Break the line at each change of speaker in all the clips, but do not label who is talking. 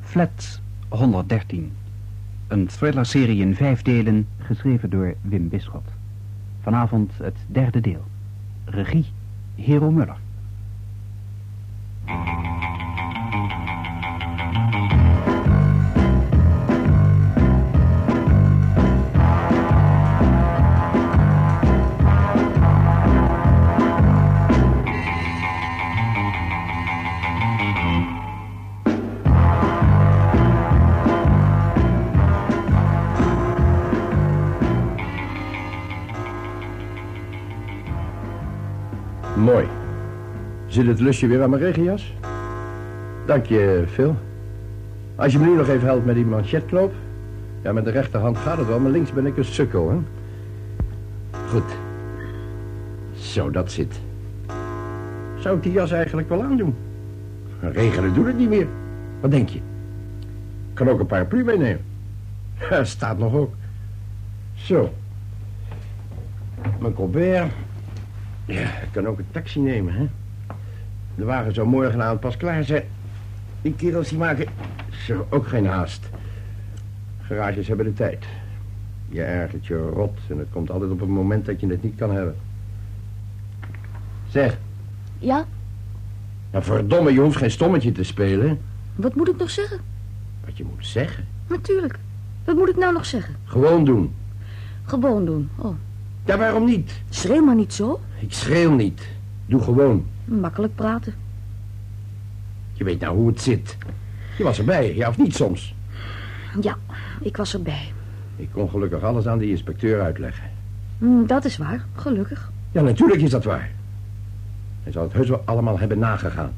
Flat 113. Een thrillerserie in vijf delen, geschreven door Wim Bisschop. Vanavond het derde deel. Regie, Hero Muller.
Mooi. Zit het lusje weer aan mijn regenjas? Dank je, Phil. Als je me nu nog even helpt met die manchetknoop. Ja, met de rechterhand gaat het wel, maar links ben ik een sukkel, hè? Goed. Zo, dat zit. Zou ik die jas eigenlijk wel aandoen? Regenen doet het niet meer. Wat denk je? Kan ook een paraplu meenemen. Staat nog ook. Zo. Mijn colbert. Ja, ik kan ook een taxi nemen, hè. De wagen zou morgenavond pas klaar zijn. Die kerels die maken... Zo, ook geen haast. Garages hebben de tijd. Je ergert je rot en het komt altijd op het moment dat je het niet kan hebben. Zeg,
Ja,
nou verdomme, je hoeft geen stommetje te spelen.
wat moet ik nog zeggen?
Wat je moet zeggen.
Natuurlijk. Wat moet ik nou nog zeggen?
Gewoon doen.
Gewoon doen. Oh,
Ja, waarom niet?
schreeuw maar niet zo.
Ik schreeuw niet. Doe gewoon.
Makkelijk praten.
Je weet nou hoe het zit. Je was erbij, ja of niet soms?
Ja, ik was erbij.
Ik kon gelukkig alles aan die inspecteur uitleggen.
Hm, Dat is waar, gelukkig.
Ja, natuurlijk is dat waar. Hij zou het heus wel allemaal hebben nagegaan.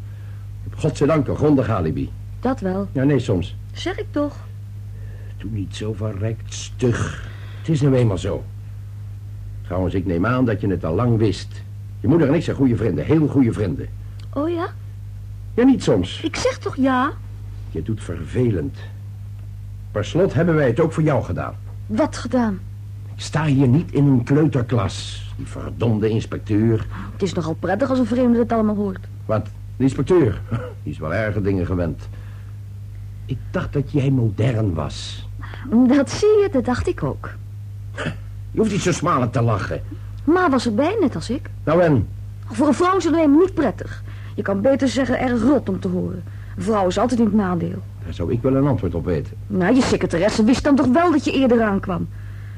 Ik heb godzijdank een grondig alibi.
Dat wel,
Ja, nee, soms.
zeg ik toch.
Doe niet zo verrekt stug. Het is nou eenmaal zo. Trouwens, ik neem aan dat je het al lang wist. Je moeder en ik zijn goede vrienden, heel goede vrienden.
Oh ja?
Ja, niet soms.
Ik zeg toch ja?
Je doet vervelend. Per slot hebben wij het ook voor jou gedaan.
Wat gedaan?
Ik sta hier niet in een kleuterklas. Die verdomde inspecteur.
Het is nogal prettig als een vreemde het allemaal hoort.
Wat? De inspecteur? Die is wel erge dingen gewend. Ik dacht dat jij modern was.
Mm, Dat zie je, dat dacht ik ook.
Je hoeft niet zo smalend te lachen.
Ma was erbij, net als ik.
Nou en?
Voor een vrouw is het helemaal niet prettig. Je kan beter zeggen erg rot om te horen. Een vrouw is altijd in het nadeel.
Daar zou ik wel een antwoord op weten.
Nou, je secretaresse wist dan toch wel dat je eerder aankwam.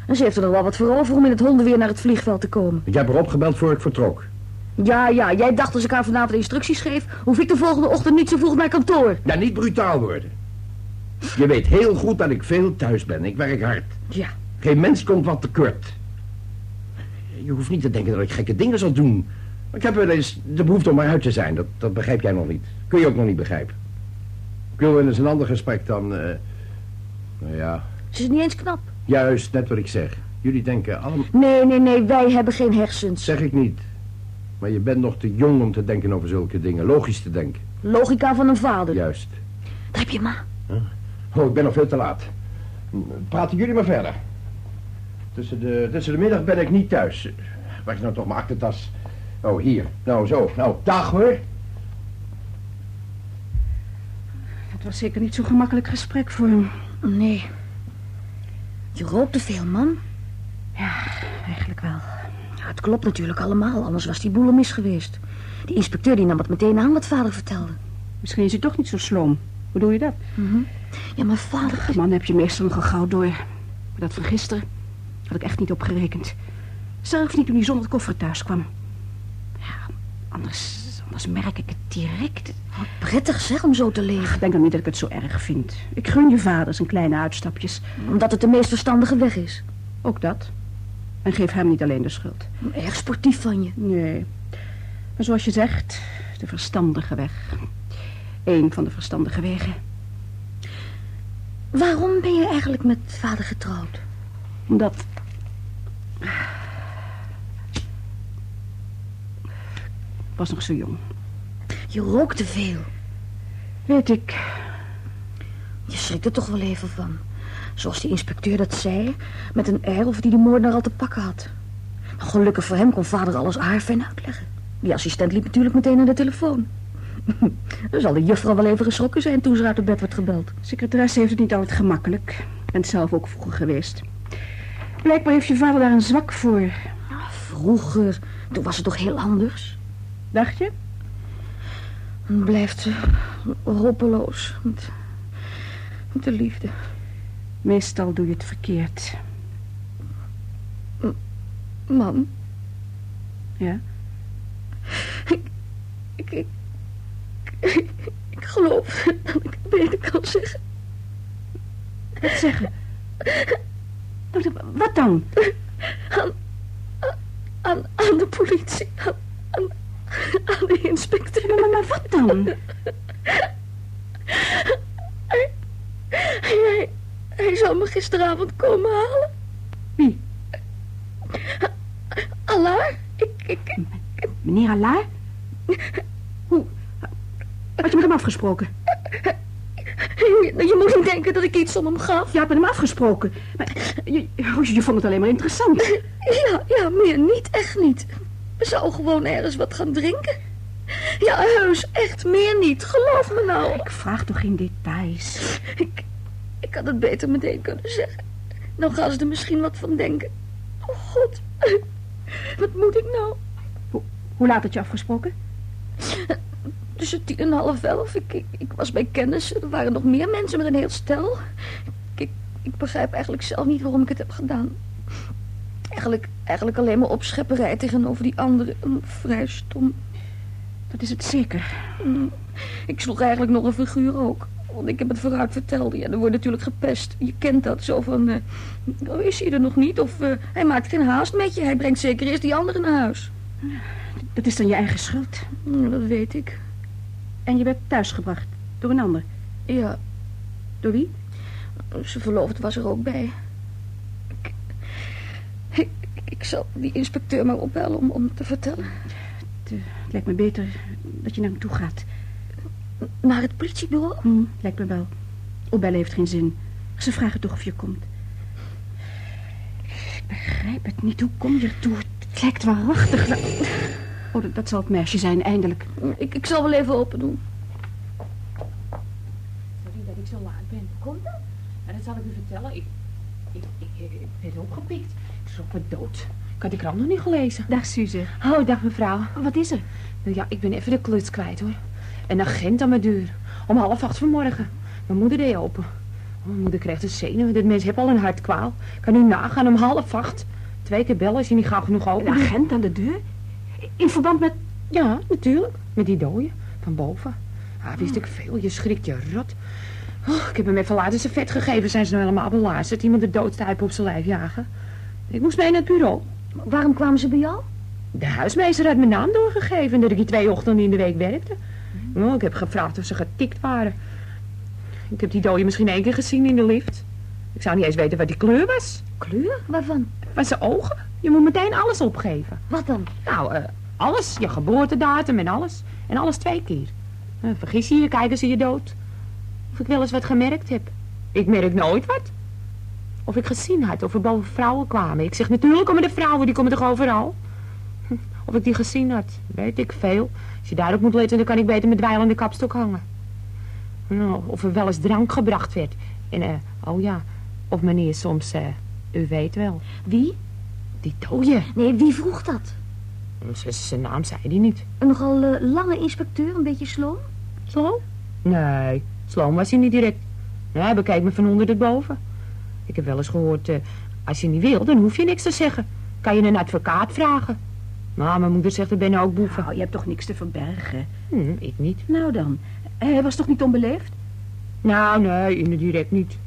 En ze heeft er nog wel wat voor over om in het hondenweer naar het vliegveld te komen.
Ik heb haar opgebeld voor ik vertrok.
Ja, ja, jij dacht als ik haar vanavond instructies geef, hoef ik de volgende ochtend niet zo vroeg naar kantoor.
Dan Nou, niet brutaal worden. Je weet heel goed dat ik veel thuis ben. Ik werk hard.
Ja.
Geen mens komt wat tekort. Je hoeft niet te denken dat ik gekke dingen zal doen. Ik heb wel eens de behoefte om eruit te zijn. Dat, dat begrijp jij nog niet. Kun je ook nog niet begrijpen. Ik wil wel eens een ander gesprek dan... eh, Nou ja,
Ze is niet eens knap.
juist net wat ik zeg. Jullie denken allemaal...
Nee, nee, nee, wij hebben geen hersens.
Zeg ik niet. Maar je bent nog te jong om te denken over zulke dingen. Logisch te denken.
Logica van een vader.
Juist.
Daar heb je ma.
Oh, ik ben nog veel te laat. Praten jullie maar verder. Tussen de, tussen de middag ben ik niet thuis. Eh, Waar is nou toch mijn aktentas? Oh, hier. Nou, zo. Nou, dag hoor.
Het was zeker niet zo'n gemakkelijk gesprek voor hem.
Nee. Je rookt te veel, man.
Eigenlijk wel.
Ja, het klopt natuurlijk allemaal, anders was die boel mis geweest. Die inspecteur die nam het meteen aan wat vader vertelde.
Misschien is hij toch niet zo sloom. Hoe doe je dat?
Ja, maar vader...
De man heb je meestal nogal gauw door. Maar dat van gisteren had ik echt niet op gerekend. Zelfs niet toen hij zonder het koffer thuis kwam. Ja, anders, anders merk ik het direct.
Prettig zeg om zo te leven.
Ik denk dan niet dat ik het zo erg vind. Ik gun je vader zijn kleine uitstapjes.
Omdat het de meest verstandige weg is.
Ook dat. En geef hem niet alleen de schuld.
Erg sportief van je.
Nee. Maar zoals je zegt, de verstandige weg. Eén van de verstandige wegen.
Waarom ben je eigenlijk met vader getrouwd?
Omdat... Ik was nog zo jong.
Je rookt te veel.
Weet ik.
Je schrikt er toch wel even van. Zoals die inspecteur dat zei, met een air of die de moordenaar al te pakken had. Nou, Maar gelukkig voor hem kon vader alles aarfijn uitleggen. Die assistent liep natuurlijk meteen naar de telefoon. Dan zal de juffrouw wel even geschrokken zijn toen ze uit het bed werd gebeld.
Secretaresse heeft het niet altijd gemakkelijk. Ik ben het zelf ook vroeger geweest. Blijkbaar heeft je vader daar een zwak voor.
Ah, Vroeger, toen was het toch heel anders?
Dacht je?
Blijft ze hopeloos met, met de liefde.
Meestal doe je het verkeerd.
Mam.
Ja?
Ik, ik, ik geloof dat ik het beter kan zeggen.
Wat zeggen? Nou, dan- Wat dan?
Aan, aan de politie. Aan, aan, aan de inspecteur.
Maar, maar wat dan?
Hij, hij zal me gisteravond komen halen.
Wie?
Alaar. Ik, ik,
Meneer Allaar? Hoe? Had je met hem afgesproken?
je, je moet niet denken dat ik iets om hem gaf.
Je had met hem afgesproken. Maar je, oh, je vond het alleen maar interessant.
Ja, ja, meer niet. Echt niet. We zouden gewoon ergens wat gaan drinken. Ja, heus. Echt meer niet. Geloof me nou.
Ik vraag toch geen details.
Ik, ik had het beter meteen kunnen zeggen. Dan gaan ze er misschien wat van denken. Oh god, wat moet ik nou?
Hoe laat had je afgesproken?
Tussen Dus tien en half elf. Ik, ik, ik was bij kennissen. Er waren nog meer mensen met een heel stel. Ik, ik, ik begrijp eigenlijk zelf niet waarom ik het heb gedaan. Eigenlijk, eigenlijk alleen maar opschepperij tegenover die anderen. Een Vrij stom.
Dat is het zeker.
Ik sloeg eigenlijk nog een figuur ook. Want ik heb het vooruit verteld. Ja, er wordt natuurlijk gepest. Je kent dat. Zo van, eh, oh, is hij er nog niet? Of eh, hij maakt geen haast met je. Hij brengt zeker eerst die anderen naar huis.
Dat is dan je eigen schuld.
Ja, dat weet ik.
En je werd thuisgebracht door een ander.
Ja,
Door wie?
zijn verloofde was er ook bij. Ik, ik, ik zal die inspecteur maar opbellen om, om te vertellen.
Het lijkt me beter dat je naar hem toe gaat.
Naar het politiebureau?
Hm, lijkt me wel. Opbellen heeft geen zin. Ze vragen toch of je komt. Ik begrijp het niet. Hoe kom je ertoe? Het lijkt waarachtig. wel- Oh, dat, dat zal het meisje zijn, eindelijk.
Ik, ik zal wel even open doen.
Sorry dat ik zo laat ben. Hoe komt dat? Nou, dat zal ik u vertellen. Ik, ik, ik, ik werd opgepikt. Ik schrok me dood. Ik had de krant nog niet gelezen.
Dag, Suze.
Oh, dag mevrouw.
Wat is er?
Nou ja, ik ben even de kluts kwijt hoor. Een agent aan mijn deur. Om half acht vanmorgen. Mijn moeder deed open. Oh, mijn moeder kreeg de zenuwen. Dit mens heeft al een hartkwaal. Kan u nagaan om half acht. Twee keer bellen als je niet gauw genoeg open
Een agent aan de deur? In verband met...
Ja, natuurlijk. Met die dooie van boven. Ah, wist ik veel. Je schrikt je rot. Oh, ik heb hem even later zijn vet gegeven. Zijn ze nou helemaal belazerd? Iemand de doodstuip op zijn lijf jagen. Ik moest mee naar het bureau.
Waarom kwamen ze bij jou?
De huismeester had mijn naam doorgegeven dat ik die twee ochtenden in de week werkte. Oh, ik heb gevraagd of ze getikt waren. Ik heb die dooie misschien één keer gezien in de lift. Ik zou niet eens weten wat die kleur was.
Kleur? Waarvan?
Van zijn ogen. Je moet meteen alles opgeven.
Wat dan?
Nou, eh, alles. Je geboortedatum en alles. En alles twee keer. Eh, vergis je je, kijken ze je dood. Of ik wel eens wat gemerkt heb. Ik merk nooit wat. Of ik gezien had of er boven vrouwen kwamen. Ik zeg, natuurlijk komen de vrouwen, die komen toch overal? Hm, Of ik die gezien had, weet ik veel. Als je daarop moet letten, dan kan ik beter met dweilende kapstok hangen. Nou, Of er wel eens drank gebracht werd. En, eh, oh ja, of meneer soms, eh, u weet wel,
Wie?
die dooie.
Nee, wie vroeg dat?
Z- Zijn naam zei hij niet.
Een nogal eh, lange inspecteur, een beetje sloom?
Sloom? Nee, sloom was hij niet direct. Nee, hij bekijkt me van onder tot boven. Ik heb wel eens gehoord, eh, als je niet wil, dan hoef je niks te zeggen. Kan je een advocaat vragen. Maar mijn moeder zegt, er ben nou ook boeven.
Oh, je hebt toch niks te verbergen?
Hm, ik niet.
Nou dan. Hij was toch niet onbeleefd?
Nou, nee, indirect niet.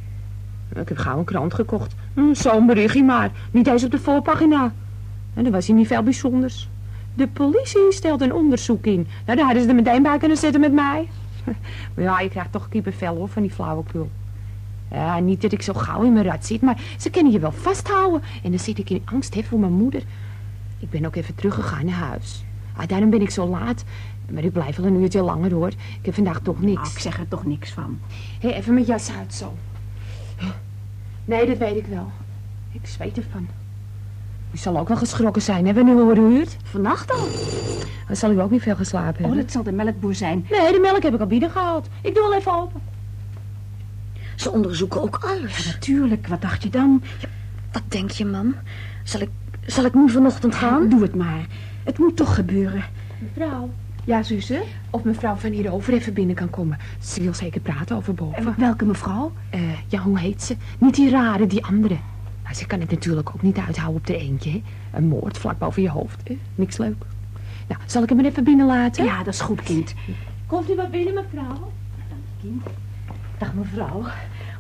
Ik heb gauw een krant gekocht. Hm, Zo'n berichtje maar. Niet eens op de voorpagina. En dan was hij niet veel bijzonders. De politie stelt een onderzoek in. Nou, daar hadden ze er meteen bij kunnen zitten met mij. Maar ja, je krijgt toch kippenvel hoor, van die flauwekul. Ja, niet dat ik zo gauw in mijn rad zit, maar ze kunnen je wel vasthouden. En dan zit ik in angst hè, voor mijn moeder. Ik ben ook even teruggegaan naar huis. Ah, daarom ben ik zo laat. Maar ik blijf wel een uurtje langer hoor. Ik heb vandaag toch niks.
Nou, ik zeg er toch niks van.
Hé, even mijn jas uit zo. Nee, dat weet ik wel. Ik zweet ervan. U zal ook wel geschrokken zijn, hè, wanneer we worden gehuurd.
Vannacht al?
Dan zal u ook niet veel geslapen
Oh,
hebben.
dat zal de melkboer zijn.
Nee, de melk heb ik al binnen gehaald. Ik doe al even open.
Ze onderzoeken ook alles.
Tuurlijk, wat dacht je dan?
Wat denk je, mam? Zal ik, zal ik nu vanochtend gaan?
Doe het maar. Het moet toch gebeuren.
Mevrouw. Ja, zussen? Of mevrouw van hierover even binnen kan komen. Ze wil zeker praten over boven.
En welke mevrouw?
Eh, ja, hoe heet ze? Niet die rare, die andere. Maar ze kan het natuurlijk ook niet uithouden op de eentje, hè? Een moord vlak boven je hoofd. Eh, niks leuk. Nou, zal ik hem er even binnen laten?
Ja, dat is goed, kind.
Komt u maar binnen, mevrouw.
Dag mevrouw.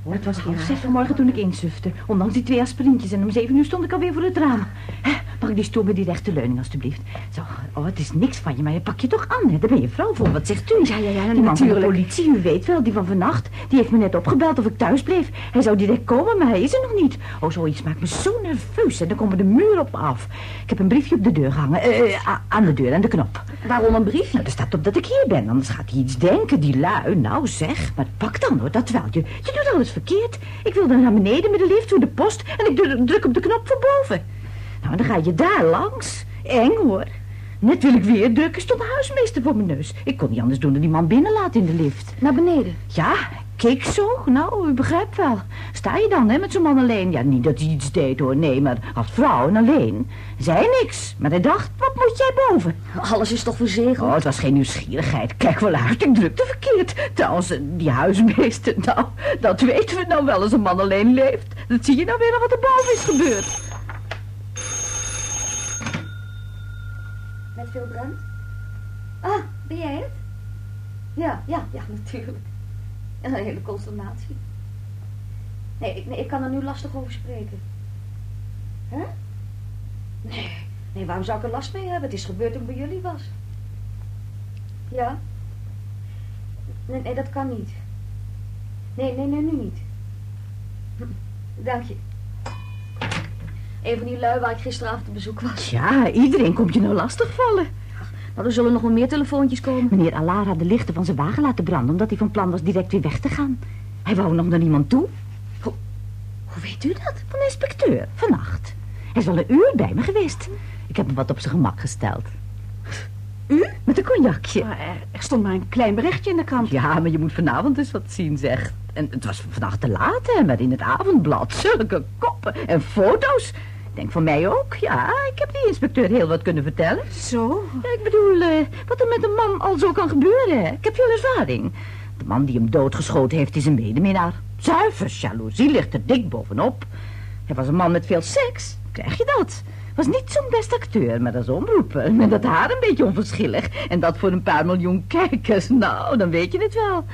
Oh, het was half zes vanmorgen toen ik insufte. Ondanks die twee aspirintjes en om zeven uur stond ik alweer voor het raam. Hè, Mag ik die stoel met die rechte leuning alstublieft? Zo, oh, het is niks van je, maar je pak je toch aan, hè? Daar ben je vrouw voor, wat zegt u? Ja, ja, ja, die man van de
natuurlijk.
politie, u weet wel, die van vannacht, die heeft me net opgebeld of ik thuis bleef. Hij zou direct komen, maar hij is er nog niet. Oh, zoiets maakt me zo nerveus en dan komen de muren op me af. Ik heb een briefje op de deur gehangen, eh, eh, a- aan de deur en de knop.
Waarom een briefje?
Nou, er staat op dat ik hier ben, anders gaat hij iets denken, die lui. Nou zeg, maar pak dan hoor, dat wel. Je, je doet alles verkeerd. Ik wilde naar beneden met de lift door de post en ik dru- druk op de knop van boven. Nou, en dan ga je daar langs. Eng hoor. Net wil ik weer drukken, stond de huismeester voor mijn neus. Ik kon niet anders doen dan die man binnenlaat in de lift.
Naar beneden.
Ja, keek zo. Nou, u begrijpt wel. Sta je dan, hè, met zo'n man alleen? Ja, niet dat hij iets deed hoor, nee, maar als vrouw en alleen. Zei niks, maar hij dacht, wat moet jij boven?
Alles is toch verzegeld?
Oh, het was geen nieuwsgierigheid. Kijk wel uit, ik drukte verkeerd. Trouwens, eh, die huismeester, nou, dat weten we nou wel als een man alleen leeft. Dat zie je nou weer al wat er boven is gebeurd.
Met veel brand? Ah, ben jij het? Ja, ja, ja, natuurlijk. En een hele consternatie. Nee ik, nee, ik kan er nu lastig over spreken. Hè? Nee, nee, waarom zou ik er last mee hebben? Het is gebeurd toen ik bij jullie was. Ja? Nee, nee, dat kan niet. Nee, nee, nee, nu niet. Hm, Dank je. Een van die lui waar ik gisteravond op bezoek was.
Ja, iedereen komt je nou lastigvallen.
Nou, er zullen nog wel meer telefoontjes komen.
Meneer Alara had de lichten van zijn wagen laten branden... omdat hij van plan was direct weer weg te gaan. Hij wou nog naar niemand toe.
Hoe weet u dat?
Van de inspecteur, vannacht. Hij is al een uur bij me geweest. Ik heb hem wat op zijn gemak gesteld. U? Met een cognacje.
Maar er, er stond maar een klein berichtje in de krant.
Ja, maar je moet vanavond eens wat zien, zeg. En het was vannacht te laat, hè, maar in het avondblad zulke koppen en foto's. Ik Denk van mij ook, ja. Ik heb die inspecteur heel wat kunnen vertellen.
Zo?
Ja, ik bedoel, eh, wat er met een man al zo kan gebeuren, hè. Ik heb veel ervaring. De man die hem doodgeschoten heeft is een medeminnaar. Zuiver, jaloezie ligt er dik bovenop. Hij was een man met veel seks. Krijg je dat? Was niet zo'n beste acteur, maar als omroeper. Met dat haar een beetje onverschillig. En dat voor een paar miljoen kijkers. Nou, dan weet je het wel.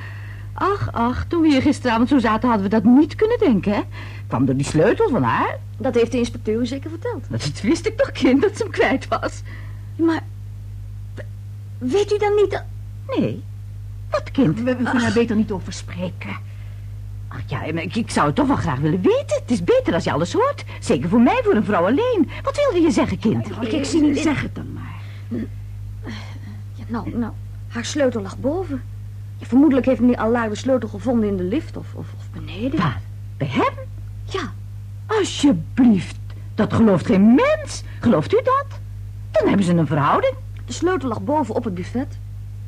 Ach, ach, toen we hier gisteravond zo zaten hadden we dat niet kunnen denken, hè? Kwam door die sleutel van haar.
Dat heeft de inspecteur u zeker verteld.
Dat wist ik toch, kind, dat ze hem kwijt was.
Maar weet u dan niet dat...
Nee. Wat, kind?
We, we kunnen er beter niet over spreken.
Ach ja, maar ik, ik zou het toch wel graag willen weten. Het is beter als je alles hoort. Zeker voor mij, voor een vrouw alleen. Wat wilde je zeggen, kind?
Ik- ik zie niet in-
Zeg het dan maar.
Ja, nou, nou, haar sleutel lag boven. Ja, vermoedelijk heeft meneer Allard de sleutel gevonden in de lift of, of, of beneden.
Waar? Bij hem?
Ja,
Alsjeblieft. Dat gelooft geen mens. Gelooft u dat? Dan hebben ze een verhouding.
de sleutel lag boven op het buffet.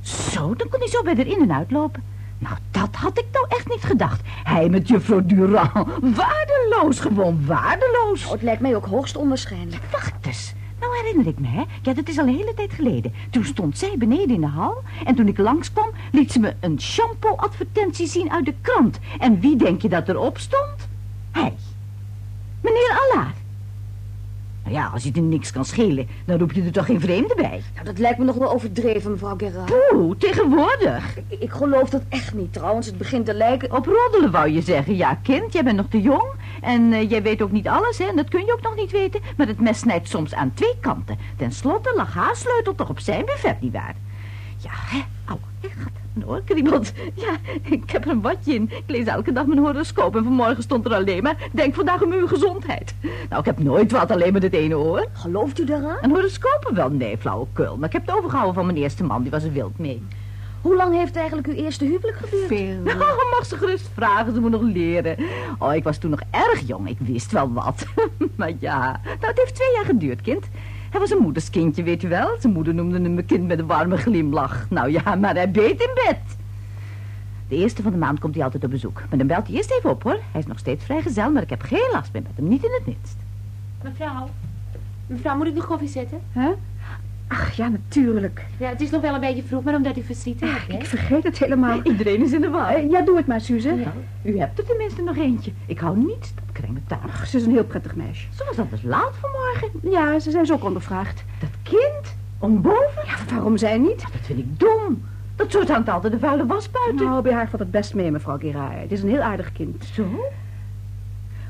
Zo, dan kon hij zo bij haar in en uitlopen. Nou, dat had ik nou echt niet gedacht. Hij met juffrouw Durand. Waardeloos, gewoon waardeloos.
Nou, het lijkt mij ook hoogst onwaarschijnlijk.
Wacht eens. Nou herinner ik me, hè? Ja, dat is al een hele tijd geleden. Toen stond zij beneden in de hal en toen ik langskwam liet ze me een shampoo-advertentie zien uit de krant. En wie denk je dat erop stond? Hij. Meneer Allard. Nou ja, als je er niks kan schelen, dan roep je er toch geen vreemde bij.
Nou, dat lijkt me nog wel overdreven, mevrouw Gerard.
Poeh, tegenwoordig.
Ik, ik geloof dat echt niet, trouwens. Het begint te lijken...
Op roddelen wou je zeggen. Ja, kind, jij bent nog te jong en eh, jij weet ook niet alles, hè? En dat kun je ook nog niet weten. Maar het mes snijdt soms aan twee kanten. Ten slotte lag haar sleutel toch op zijn buffet, nietwaar? Ja, hè? Au, hè, gaat een oorkriebelt. Ja, ik heb er een watje in. Ik lees elke dag mijn horoscoop en vanmorgen stond er alleen maar... Denk vandaag om uw gezondheid. Nou, ik heb nooit wat, alleen maar het ene oor.
Gelooft u daaraan?
Een horoscoop wel, nee, flauwekul. Maar ik heb het overgehouden van mijn eerste man, die was er wild mee.
Hoe lang heeft eigenlijk uw eerste huwelijk geduurd?
Veel.
Nou, mag ze gerust vragen, ze moet nog leren. Oh, ik was toen nog erg jong, ik wist wel wat. maar ja, nou, het heeft twee jaar geduurd, kind. Hij was een moederskindje, weet u wel. Zijn moeder noemde hem een kind met een warme glimlach. Nou ja, maar hij beet in bed. De eerste van de maand komt hij altijd op bezoek. Maar dan belt hij eerst even op, hoor. Hij is nog steeds vrijgezel, maar ik heb geen last meer met hem. Niet in het minst.
Mevrouw, mevrouw, moet ik nog koffie zetten?
Ach ja, natuurlijk.
Ja, het is nog wel een beetje vroeg, maar omdat u verschiet hebt, hè?
Ik vergeet het helemaal.
Iedereen is in de war.
Eh, ja, doe het maar, Suze.
U hebt er tenminste nog eentje. Ik hou niets dat krengetaar.
Ach, ze is een heel prettig meisje.
Ze was anders laat vanmorgen.
Ja, ze zijn zo ook ondervraagd.
Dat kind, onboven.
Ja, waarom zij niet?
Dat vind ik dom. Dat soort hangt altijd de vuile was buiten.
Nou, bij haar valt het best mee, mevrouw Gerard. Het is een heel aardig kind.
Zo?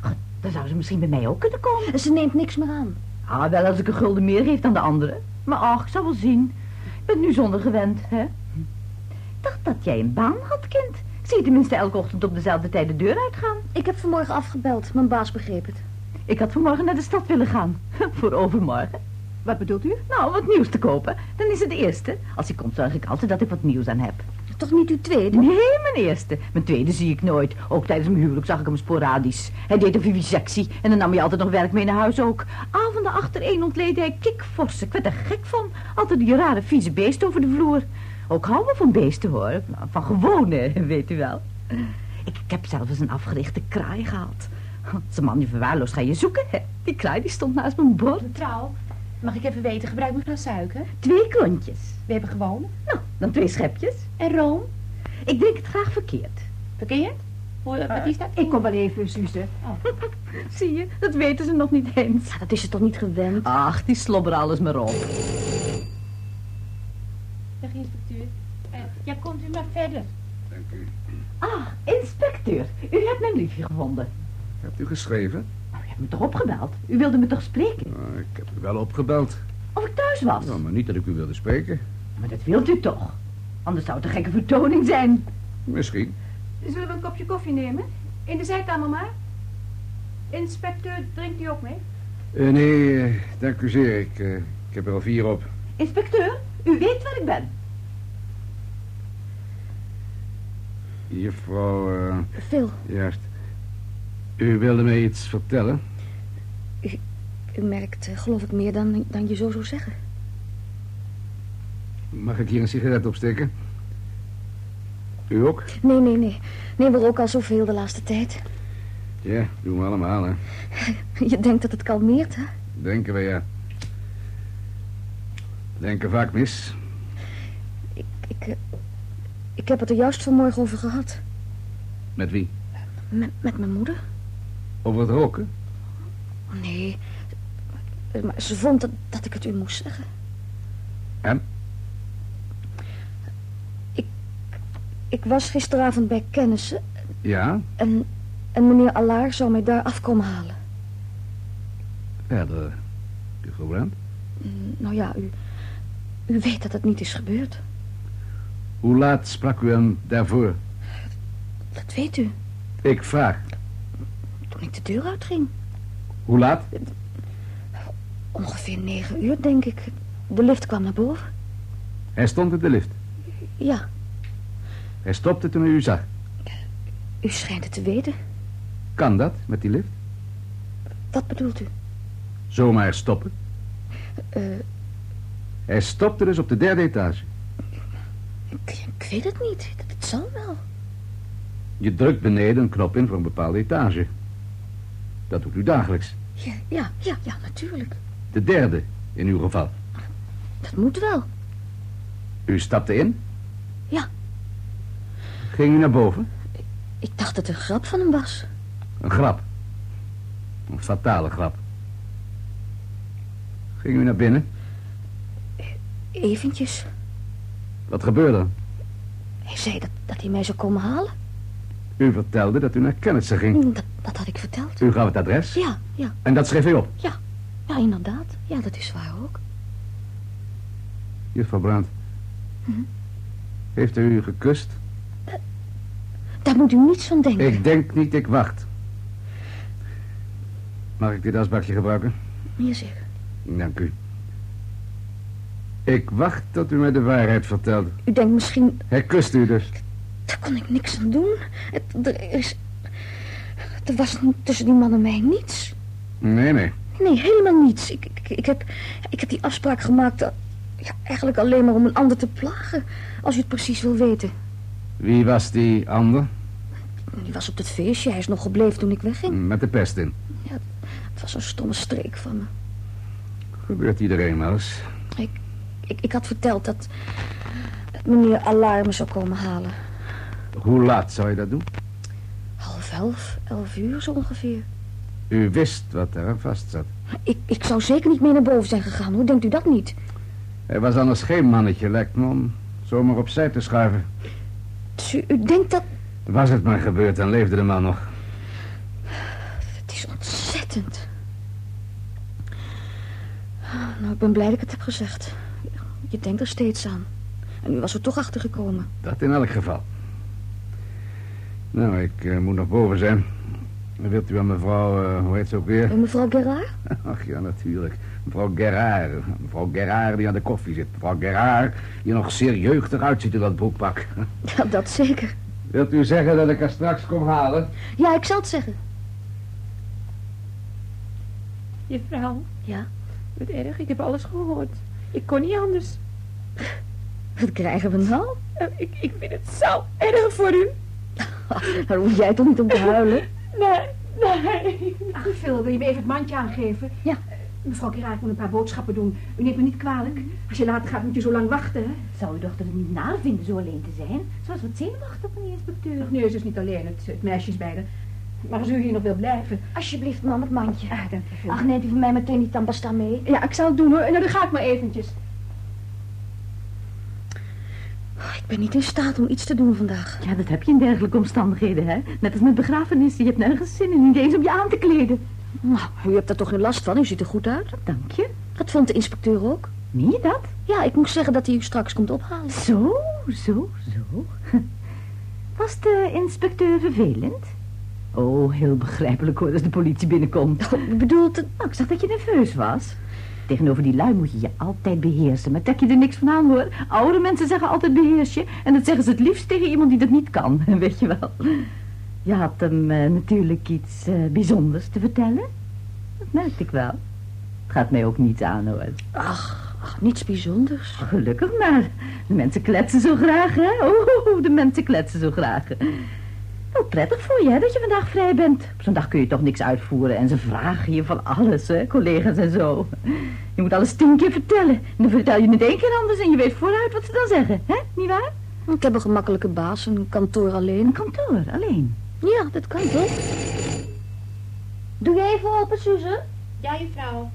God, dan zou ze misschien bij mij ook kunnen komen.
Ze neemt niks meer aan.
Ah, wel als ik een gulden meer geef dan de anderen. Maar ach, ik zal wel zien. Ik ben nu zonder gewend, hè? Ik dacht dat jij een baan had, kind. Ik zie je tenminste elke ochtend op dezelfde tijd de deur uitgaan.
Ik heb vanmorgen afgebeld. Mijn baas begreep het.
Ik had vanmorgen naar de stad willen gaan. Voor overmorgen.
Wat bedoelt u?
Nou, wat nieuws te kopen. Dan is het de eerste. Als hij komt, zorg ik altijd dat ik wat nieuws aan heb.
Toch niet uw tweede?
Nee, mijn eerste. Mijn tweede zie ik nooit. Ook tijdens mijn huwelijk zag ik hem sporadisch. Hij deed een vivisectie en dan nam hij altijd nog werk mee naar huis ook. Avonden achtereen ontleed hij kikvorsen. Ik werd er gek van. Altijd die rare vieze beesten over de vloer. Ook houden we van beesten hoor. Nou, Van gewone, weet u wel. Ik, ik heb zelf eens een afgerichte kraai gehad. Als een man je verwaarloosd ga je zoeken. Hè? Die kraai die stond naast mijn bord.
Mevrouw, mag ik even weten, gebruikt mevrouw suiker?
Twee klontjes.
We hebben gewoon.
Nou, dan twee schepjes.
En room?
Ik drink het graag verkeerd.
Verkeerd? Hoe, wat is dat?
Ik kom wel even, Suze.
Zie je, dat weten ze nog niet eens.
Ja, dat is ze toch niet gewend?
Ach, die slobber alles maar op.
Dag inspecteur. Eh, ja, komt u maar verder.
Ah, inspecteur, u hebt mijn briefje gevonden.
Hebt u geschreven?
Nou, u hebt me toch opgebeld? U wilde me toch spreken?
Nou, ik heb u wel opgebeld.
Of ik thuis was?
Nou, maar niet dat ik u wilde spreken.
Maar dat wilt u toch? Anders zou het een gekke vertoning zijn.
Misschien.
Zullen we een kopje koffie nemen? In de zijkamer maar. Inspecteur, drinkt u ook mee?
Eh, nee, eh, dank u zeer. Ik, eh, ik heb er al vier op.
Inspecteur, u weet waar ik ben.
Juffrouw eh
Veel.
Juist. U wilde mij iets vertellen?
U merkt, eh, geloof ik, meer dan, dan je zo zou zeggen.
Mag ik hier een sigaret opsteken? U ook?
Nee, nee, nee. Nee, we roken al zoveel de laatste tijd.
Ja, doen we allemaal, hè.
Je denkt dat het kalmeert, hè?
Denken we, ja. Denken vaak mis.
Ik, ik, eh, ik heb het er juist vanmorgen over gehad.
Met wie?
Met, met mijn moeder?
Over het roken?
Oh, nee. Eh, Maar ze vond dat, dat ik het u moest zeggen.
En?
Ik, ik was gisteravond bij kennissen
Ja,
en, en meneer Allaar zou mij daar afkomen halen.
verder. Juffrouw Brandt?
Mm, Nou ja, u, u weet dat het niet is gebeurd.
Hoe laat sprak u hem daarvoor?
Dat weet u,
Ik vraag.
toen ik de deur uitging.
Hoe laat?
Ongeveer negen uur, denk ik. De lift kwam naar boven.
Hij stond in de lift.
Ja,
Hij stopte toen hij u zag.
u schijnt het te weten.
Kan dat met die lift?
Wat bedoelt u?
Zomaar stoppen?
Eh,
Hij stopte dus op de derde etage.
ik, ik weet het niet. Dat, het zal wel.
Je drukt beneden een knop in voor een bepaalde etage. Dat doet u dagelijks.
Ja, ja, ja, ja, natuurlijk.
De derde, in uw geval.
Dat moet wel.
U stapte in?
Ja.
Ging u naar boven?
Ik dacht dat het een grap van hem was.
Een grap. Een fatale grap. Ging u naar binnen?
Eventjes.
Wat gebeurde er?
Hij zei dat, dat hij mij zou komen halen.
U vertelde dat u naar Kennissen ging.
Dat, dat had ik verteld.
U gaf het adres?
Ja, ja,
En dat schreef u op?
ja, inderdaad. Ja, dat is waar ook.
Juffrouw Brandt.
Mhm.
Heeft u u gekust?
Daar moet u niets van denken.
Ik denk niet, ik wacht. Mag ik dit asbakje gebruiken?
Hier zeg.
Dank u.
Ik wacht tot u mij de waarheid vertelt.
U denkt misschien,
Hij kust u dus.
daar kon ik niks aan doen. Het, er is... Er was tussen die man en mij niets.
Nee, nee.
Nee, helemaal niets. Ik, ik, ik, heb, ik heb die afspraak gemaakt... eh, Ja, eigenlijk alleen maar om een ander te plagen. Als u het precies wil weten.
Wie was die ander?
Die was op dat feestje. Hij is nog gebleven toen ik
Mm.
wegging.
Met de pest in.
Het was een stomme streek van me.
Gebeurt iedereen wel eens.
Ik, ik had verteld dat, dat meneer Alarm zou komen halen.
Hoe laat zou je dat doen?
Half elf, elf uur zo ongeveer.
U wist wat daar aan vast zat.
Ik, ik zou zeker niet meer naar boven zijn gegaan, hoe denkt u dat niet?
Hij was anders geen mannetje, lijkt me, om zomaar opzij te schuiven.
Dus u, u denkt dat...
Was het maar gebeurd, dan leefde de man nog.
Het is ontzettend. Nou, ik ben blij dat ik het heb gezegd. Je denkt er steeds aan. En u was er toch achter gekomen.
Dat in elk geval. Nou, ik eh, moet nog boven zijn. Wilt u aan mevrouw, eh, hoe heet ze ook weer?
En mevrouw Gerard?
Ach ja, natuurlijk. Mevrouw Gerard. Mevrouw Gerard die aan de koffie zit. Mevrouw Gerard die nog zeer jeugdig uitziet in dat broekpak.
Ja, dat zeker.
Wilt u zeggen dat ik haar straks kom halen?
Ja, ik zal het zeggen.
Juffrouw.
Ja?
Wat erg, ik heb alles gehoord. Ik kon niet anders.
Wat krijgen we nou?
Eh, Ik, ik vind het zo erg voor u.
Daar hoef jij toch niet om te huilen?
Nee, nee.
Ach, Phil, wil je me even het mandje aangeven?
Ja.
Eh, Mevrouw Kira, ik moet een paar boodschappen doen. U neemt me niet kwalijk.
Mm.
Als je later gaat, moet je zo lang wachten, hè?
Zou uw dochter het niet naar vinden zo alleen te zijn? Ze was wat zenuwachtig, meneer inspecteur.
Nee, ze is niet alleen. Het, het meisje is bij haar. Maar als u hier nog wilt blijven...
Alsjeblieft, mam, het mandje.
Ah, dank je, Phil.
Ach, neemt u voor mij meteen die tandpasta mee?
Ja, ik zal het doen, hoor. Nou, dan ga ik maar eventjes.
Oh, Ik ben niet in staat om iets te doen vandaag.
Ja, dat heb je in dergelijke omstandigheden, hè? Net als met begrafenissen. Je hebt nergens zin in, niet eens om je aan te kleden.
Nou, u hebt daar toch geen last van? U ziet er goed uit.
Dank je.
Dat vond de inspecteur ook.
Meen je dat?
Ja, ik moest zeggen dat hij u straks komt ophalen.
Zo, zo, zo. Was de inspecteur vervelend? Oh, heel begrijpelijk hoor, als de politie binnenkomt.
Ik bedoel, het-
Nou, ik zag dat je nerveus was. Tegenover die lui moet je je altijd beheersen, maar trek je er niks van aan hoor. Oude mensen zeggen altijd beheers je. En dat zeggen ze het liefst tegen iemand die dat niet kan, weet je wel. Je had hem eh, natuurlijk iets eh, bijzonders te vertellen. Dat merkte ik wel. Het gaat mij ook niet aan hoor.
ach, ach, niets bijzonders.
Gelukkig maar. De mensen kletsen zo graag, hè? Oh, de mensen kletsen zo graag. Wel prettig voor je, hè, dat je vandaag vrij bent. Op zo'n dag kun je toch niks uitvoeren en ze vragen je van alles, hè, collega's en zo. Je moet alles tien keer vertellen. En dan vertel je het één keer anders en je weet vooruit wat ze dan zeggen, hè? Niet waar?
Ik heb een gemakkelijke baas, een kantoor alleen.
Een kantoor, alleen.
Ja, dat kan toch? Doe je even open, Suze?
Ja, juffrouw.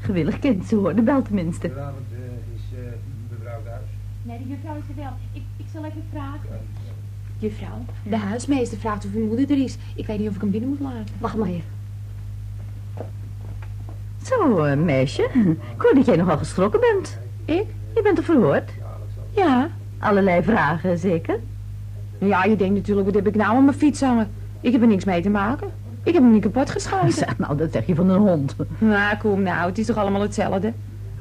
Gewillig kind, ze hoor de bel tenminste.
Vanavond eh, is mevrouw thuis.
Nee, de juffrouw is er wel. Ik, ik zal even vragen. Juffrouw, de huismeester vraagt of uw moeder er is. Ik weet niet of ik hem binnen moet laten.
Wacht maar even.
Zo, eh, meisje. Ik hoor dat jij nogal geschrokken bent.
Ik?
Je bent er verhoord.
Ja.
Allerlei vragen, zeker?
Ja, je denkt natuurlijk, wat heb ik nou aan mijn fiets hangen? Ik heb er niks mee te maken. Ik heb hem niet kapot geschoten.
Zeg nou, dat zeg je van een hond.
Nou, kom nou, het is toch allemaal hetzelfde?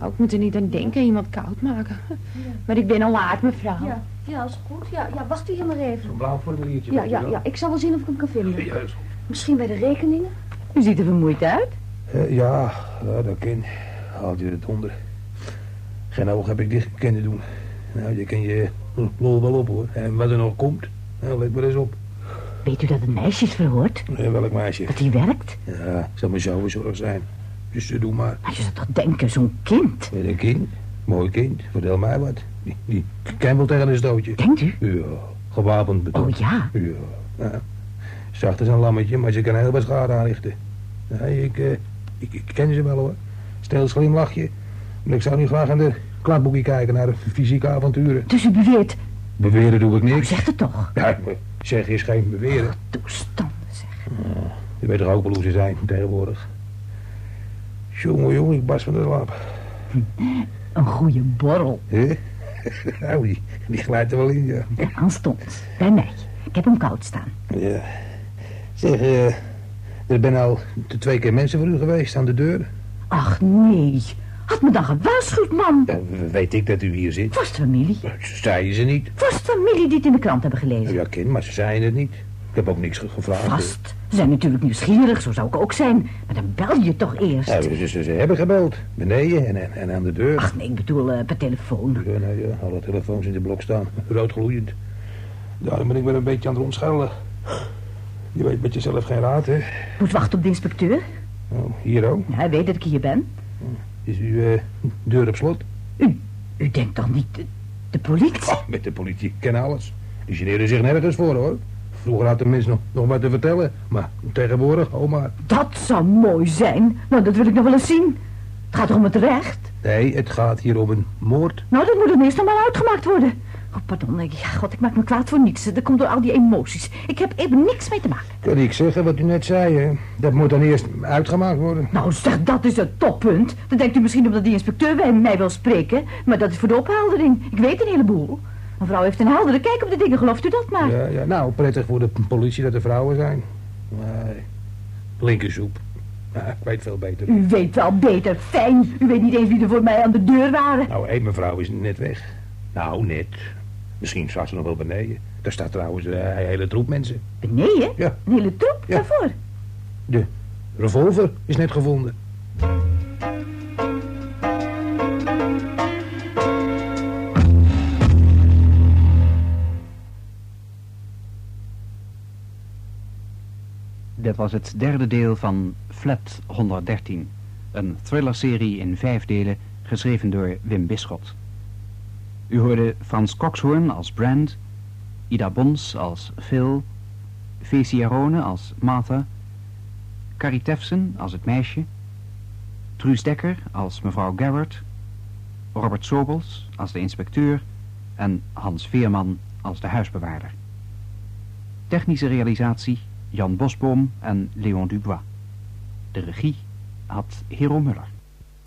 Ook moet er niet aan denken, iemand koud maken. Maar ik ben al laat, mevrouw.
Ja. Ja, is goed. Ja, ja, wacht u hier maar even.
Een blauw formuliertje.
Ja, ja, ja, ik zal wel zien of ik hem kan vinden.
Ja, is
Misschien bij de rekeningen?
U ziet er vermoeid uit.
Eh, ja, ja, dat kan. Haalt je het onder. Geen oog heb ik dicht kunnen doen. Nou, je kan je lol wel op hoor. En wat er nog komt, nou, let maar eens op.
Weet u dat het meisje is verhoord?
Eh, welk meisje?
Dat hij werkt?
Ja, zal maar zo zorg zijn. Dus eh, doe maar.
Maar je zou toch denken, zo'n kind?
Met een kind, mooi kind, vertel mij wat. Die, die kan wel tegen een stootje.
Denkt u?
Ja, gewapend bedoel.
Oh ja.
Ja, nou, zacht is een lammetje, maar ze kan heel wat schade aanrichten. Nee, ik, eh, ik, ik ken ze wel hoor. Stel slim lachje. Maar ik zou nu graag aan de kladboekje kijken naar de fysieke avonturen.
Dus u beweert.
Beweren doe ik
U
niks.
zegt het toch?
Ja, maar zeg is geen beweren.
Toestanden zeg.
Je weet toch ook wel hoe ze zijn tegenwoordig. Jongen, jongen, ik barst van de slaap.
Een goede borrel.
Hè? nou, die, die glijdt er wel in, ja.
Ja, aanstonds. Bij mij. Ik heb hem koud staan.
ja. Zeg, eh, er zijn al t- twee keer mensen voor u geweest aan de deur.
Ach nee. Had me dan gewaarschuwd, man.
Dan weet ik dat u hier zit.
Vast familie.
Ze zeiden ze niet.
Vast familie die het in de krant hebben gelezen.
Ja, kind, maar ze zeiden het niet. Ik heb ook niks ge- gevraagd.
Vast. Ze zijn natuurlijk nieuwsgierig, zo zou ik ook zijn. Maar dan bel je toch eerst.
Ja, ze, ze- ze hebben gebeld. Beneden en, en, en aan de deur.
Ach nee, ik bedoel eh, per telefoon.
Ja, nou ja, alle telefoons in de blok staan. Rood gloeiend. Daarom ben ik weer een beetje aan het rondschellen. Je weet met jezelf geen raad, hè?
Moet wachten op de inspecteur.
Oh, hier ook.
Ja, hij weet dat ik hier ben.
Is uw eh, deur op slot?
U denkt toch niet... De, de politie?
Ah, met de politie ken alles. Die generen zich nergens voor, hoor. Vroeger had de mens nog, nog wat te vertellen. Maar tegenwoordig, oh oma...
Dat zou mooi zijn. Nou, dat wil ik nog wel eens zien. Het gaat toch om het recht?
Nee, het gaat hier om een moord.
Nou, dat moet dan eerst nog maar uitgemaakt worden. Oh, pardon. ik- Ja, god, ik maak me kwaad voor niets. Dat komt door al die emoties. Ik heb even niks mee te maken.
Kan ik zeggen wat u net zei, hè? Dat moet dan eerst uitgemaakt worden.
Nou, zeg, dat is het toppunt. Dan denkt u misschien omdat die inspecteur bij mij wil spreken. Maar dat is voor de opheldering. Ik weet een heleboel. Een vrouw heeft een heldere kijk op de dingen, gelooft u dat maar?
Ja, ja, nou, prettig voor de p- politie dat er vrouwen zijn. Nee, linkersoep. Ja, ik weet veel beter.
U weet wel beter, fijn. U weet niet eens wie er voor mij aan de deur waren.
Nou, één mevrouw is net weg. Nou, net. Misschien staat ze nog wel beneden. Daar staat trouwens eh, een hele troep mensen.
Beneden?
Ja.
Een hele troep?
Ja.
Waarvoor?
De revolver is net gevonden.
Dit was het derde deel van Flat 113. Een thrillerserie in vijf delen, geschreven door Wim Bisschot. U hoorde Frans Coxhoorn als Brand, Ida Bons als Phil, Fesi Arone als Martha, Carrie Tefsen als het meisje, Truus Dekker als mevrouw Garrett, Robert Sobels als de inspecteur en Hans Veerman als de huisbewaarder. Technische realisatie Jan Bosboom en Leon Dubois. De regie had Hero Muller.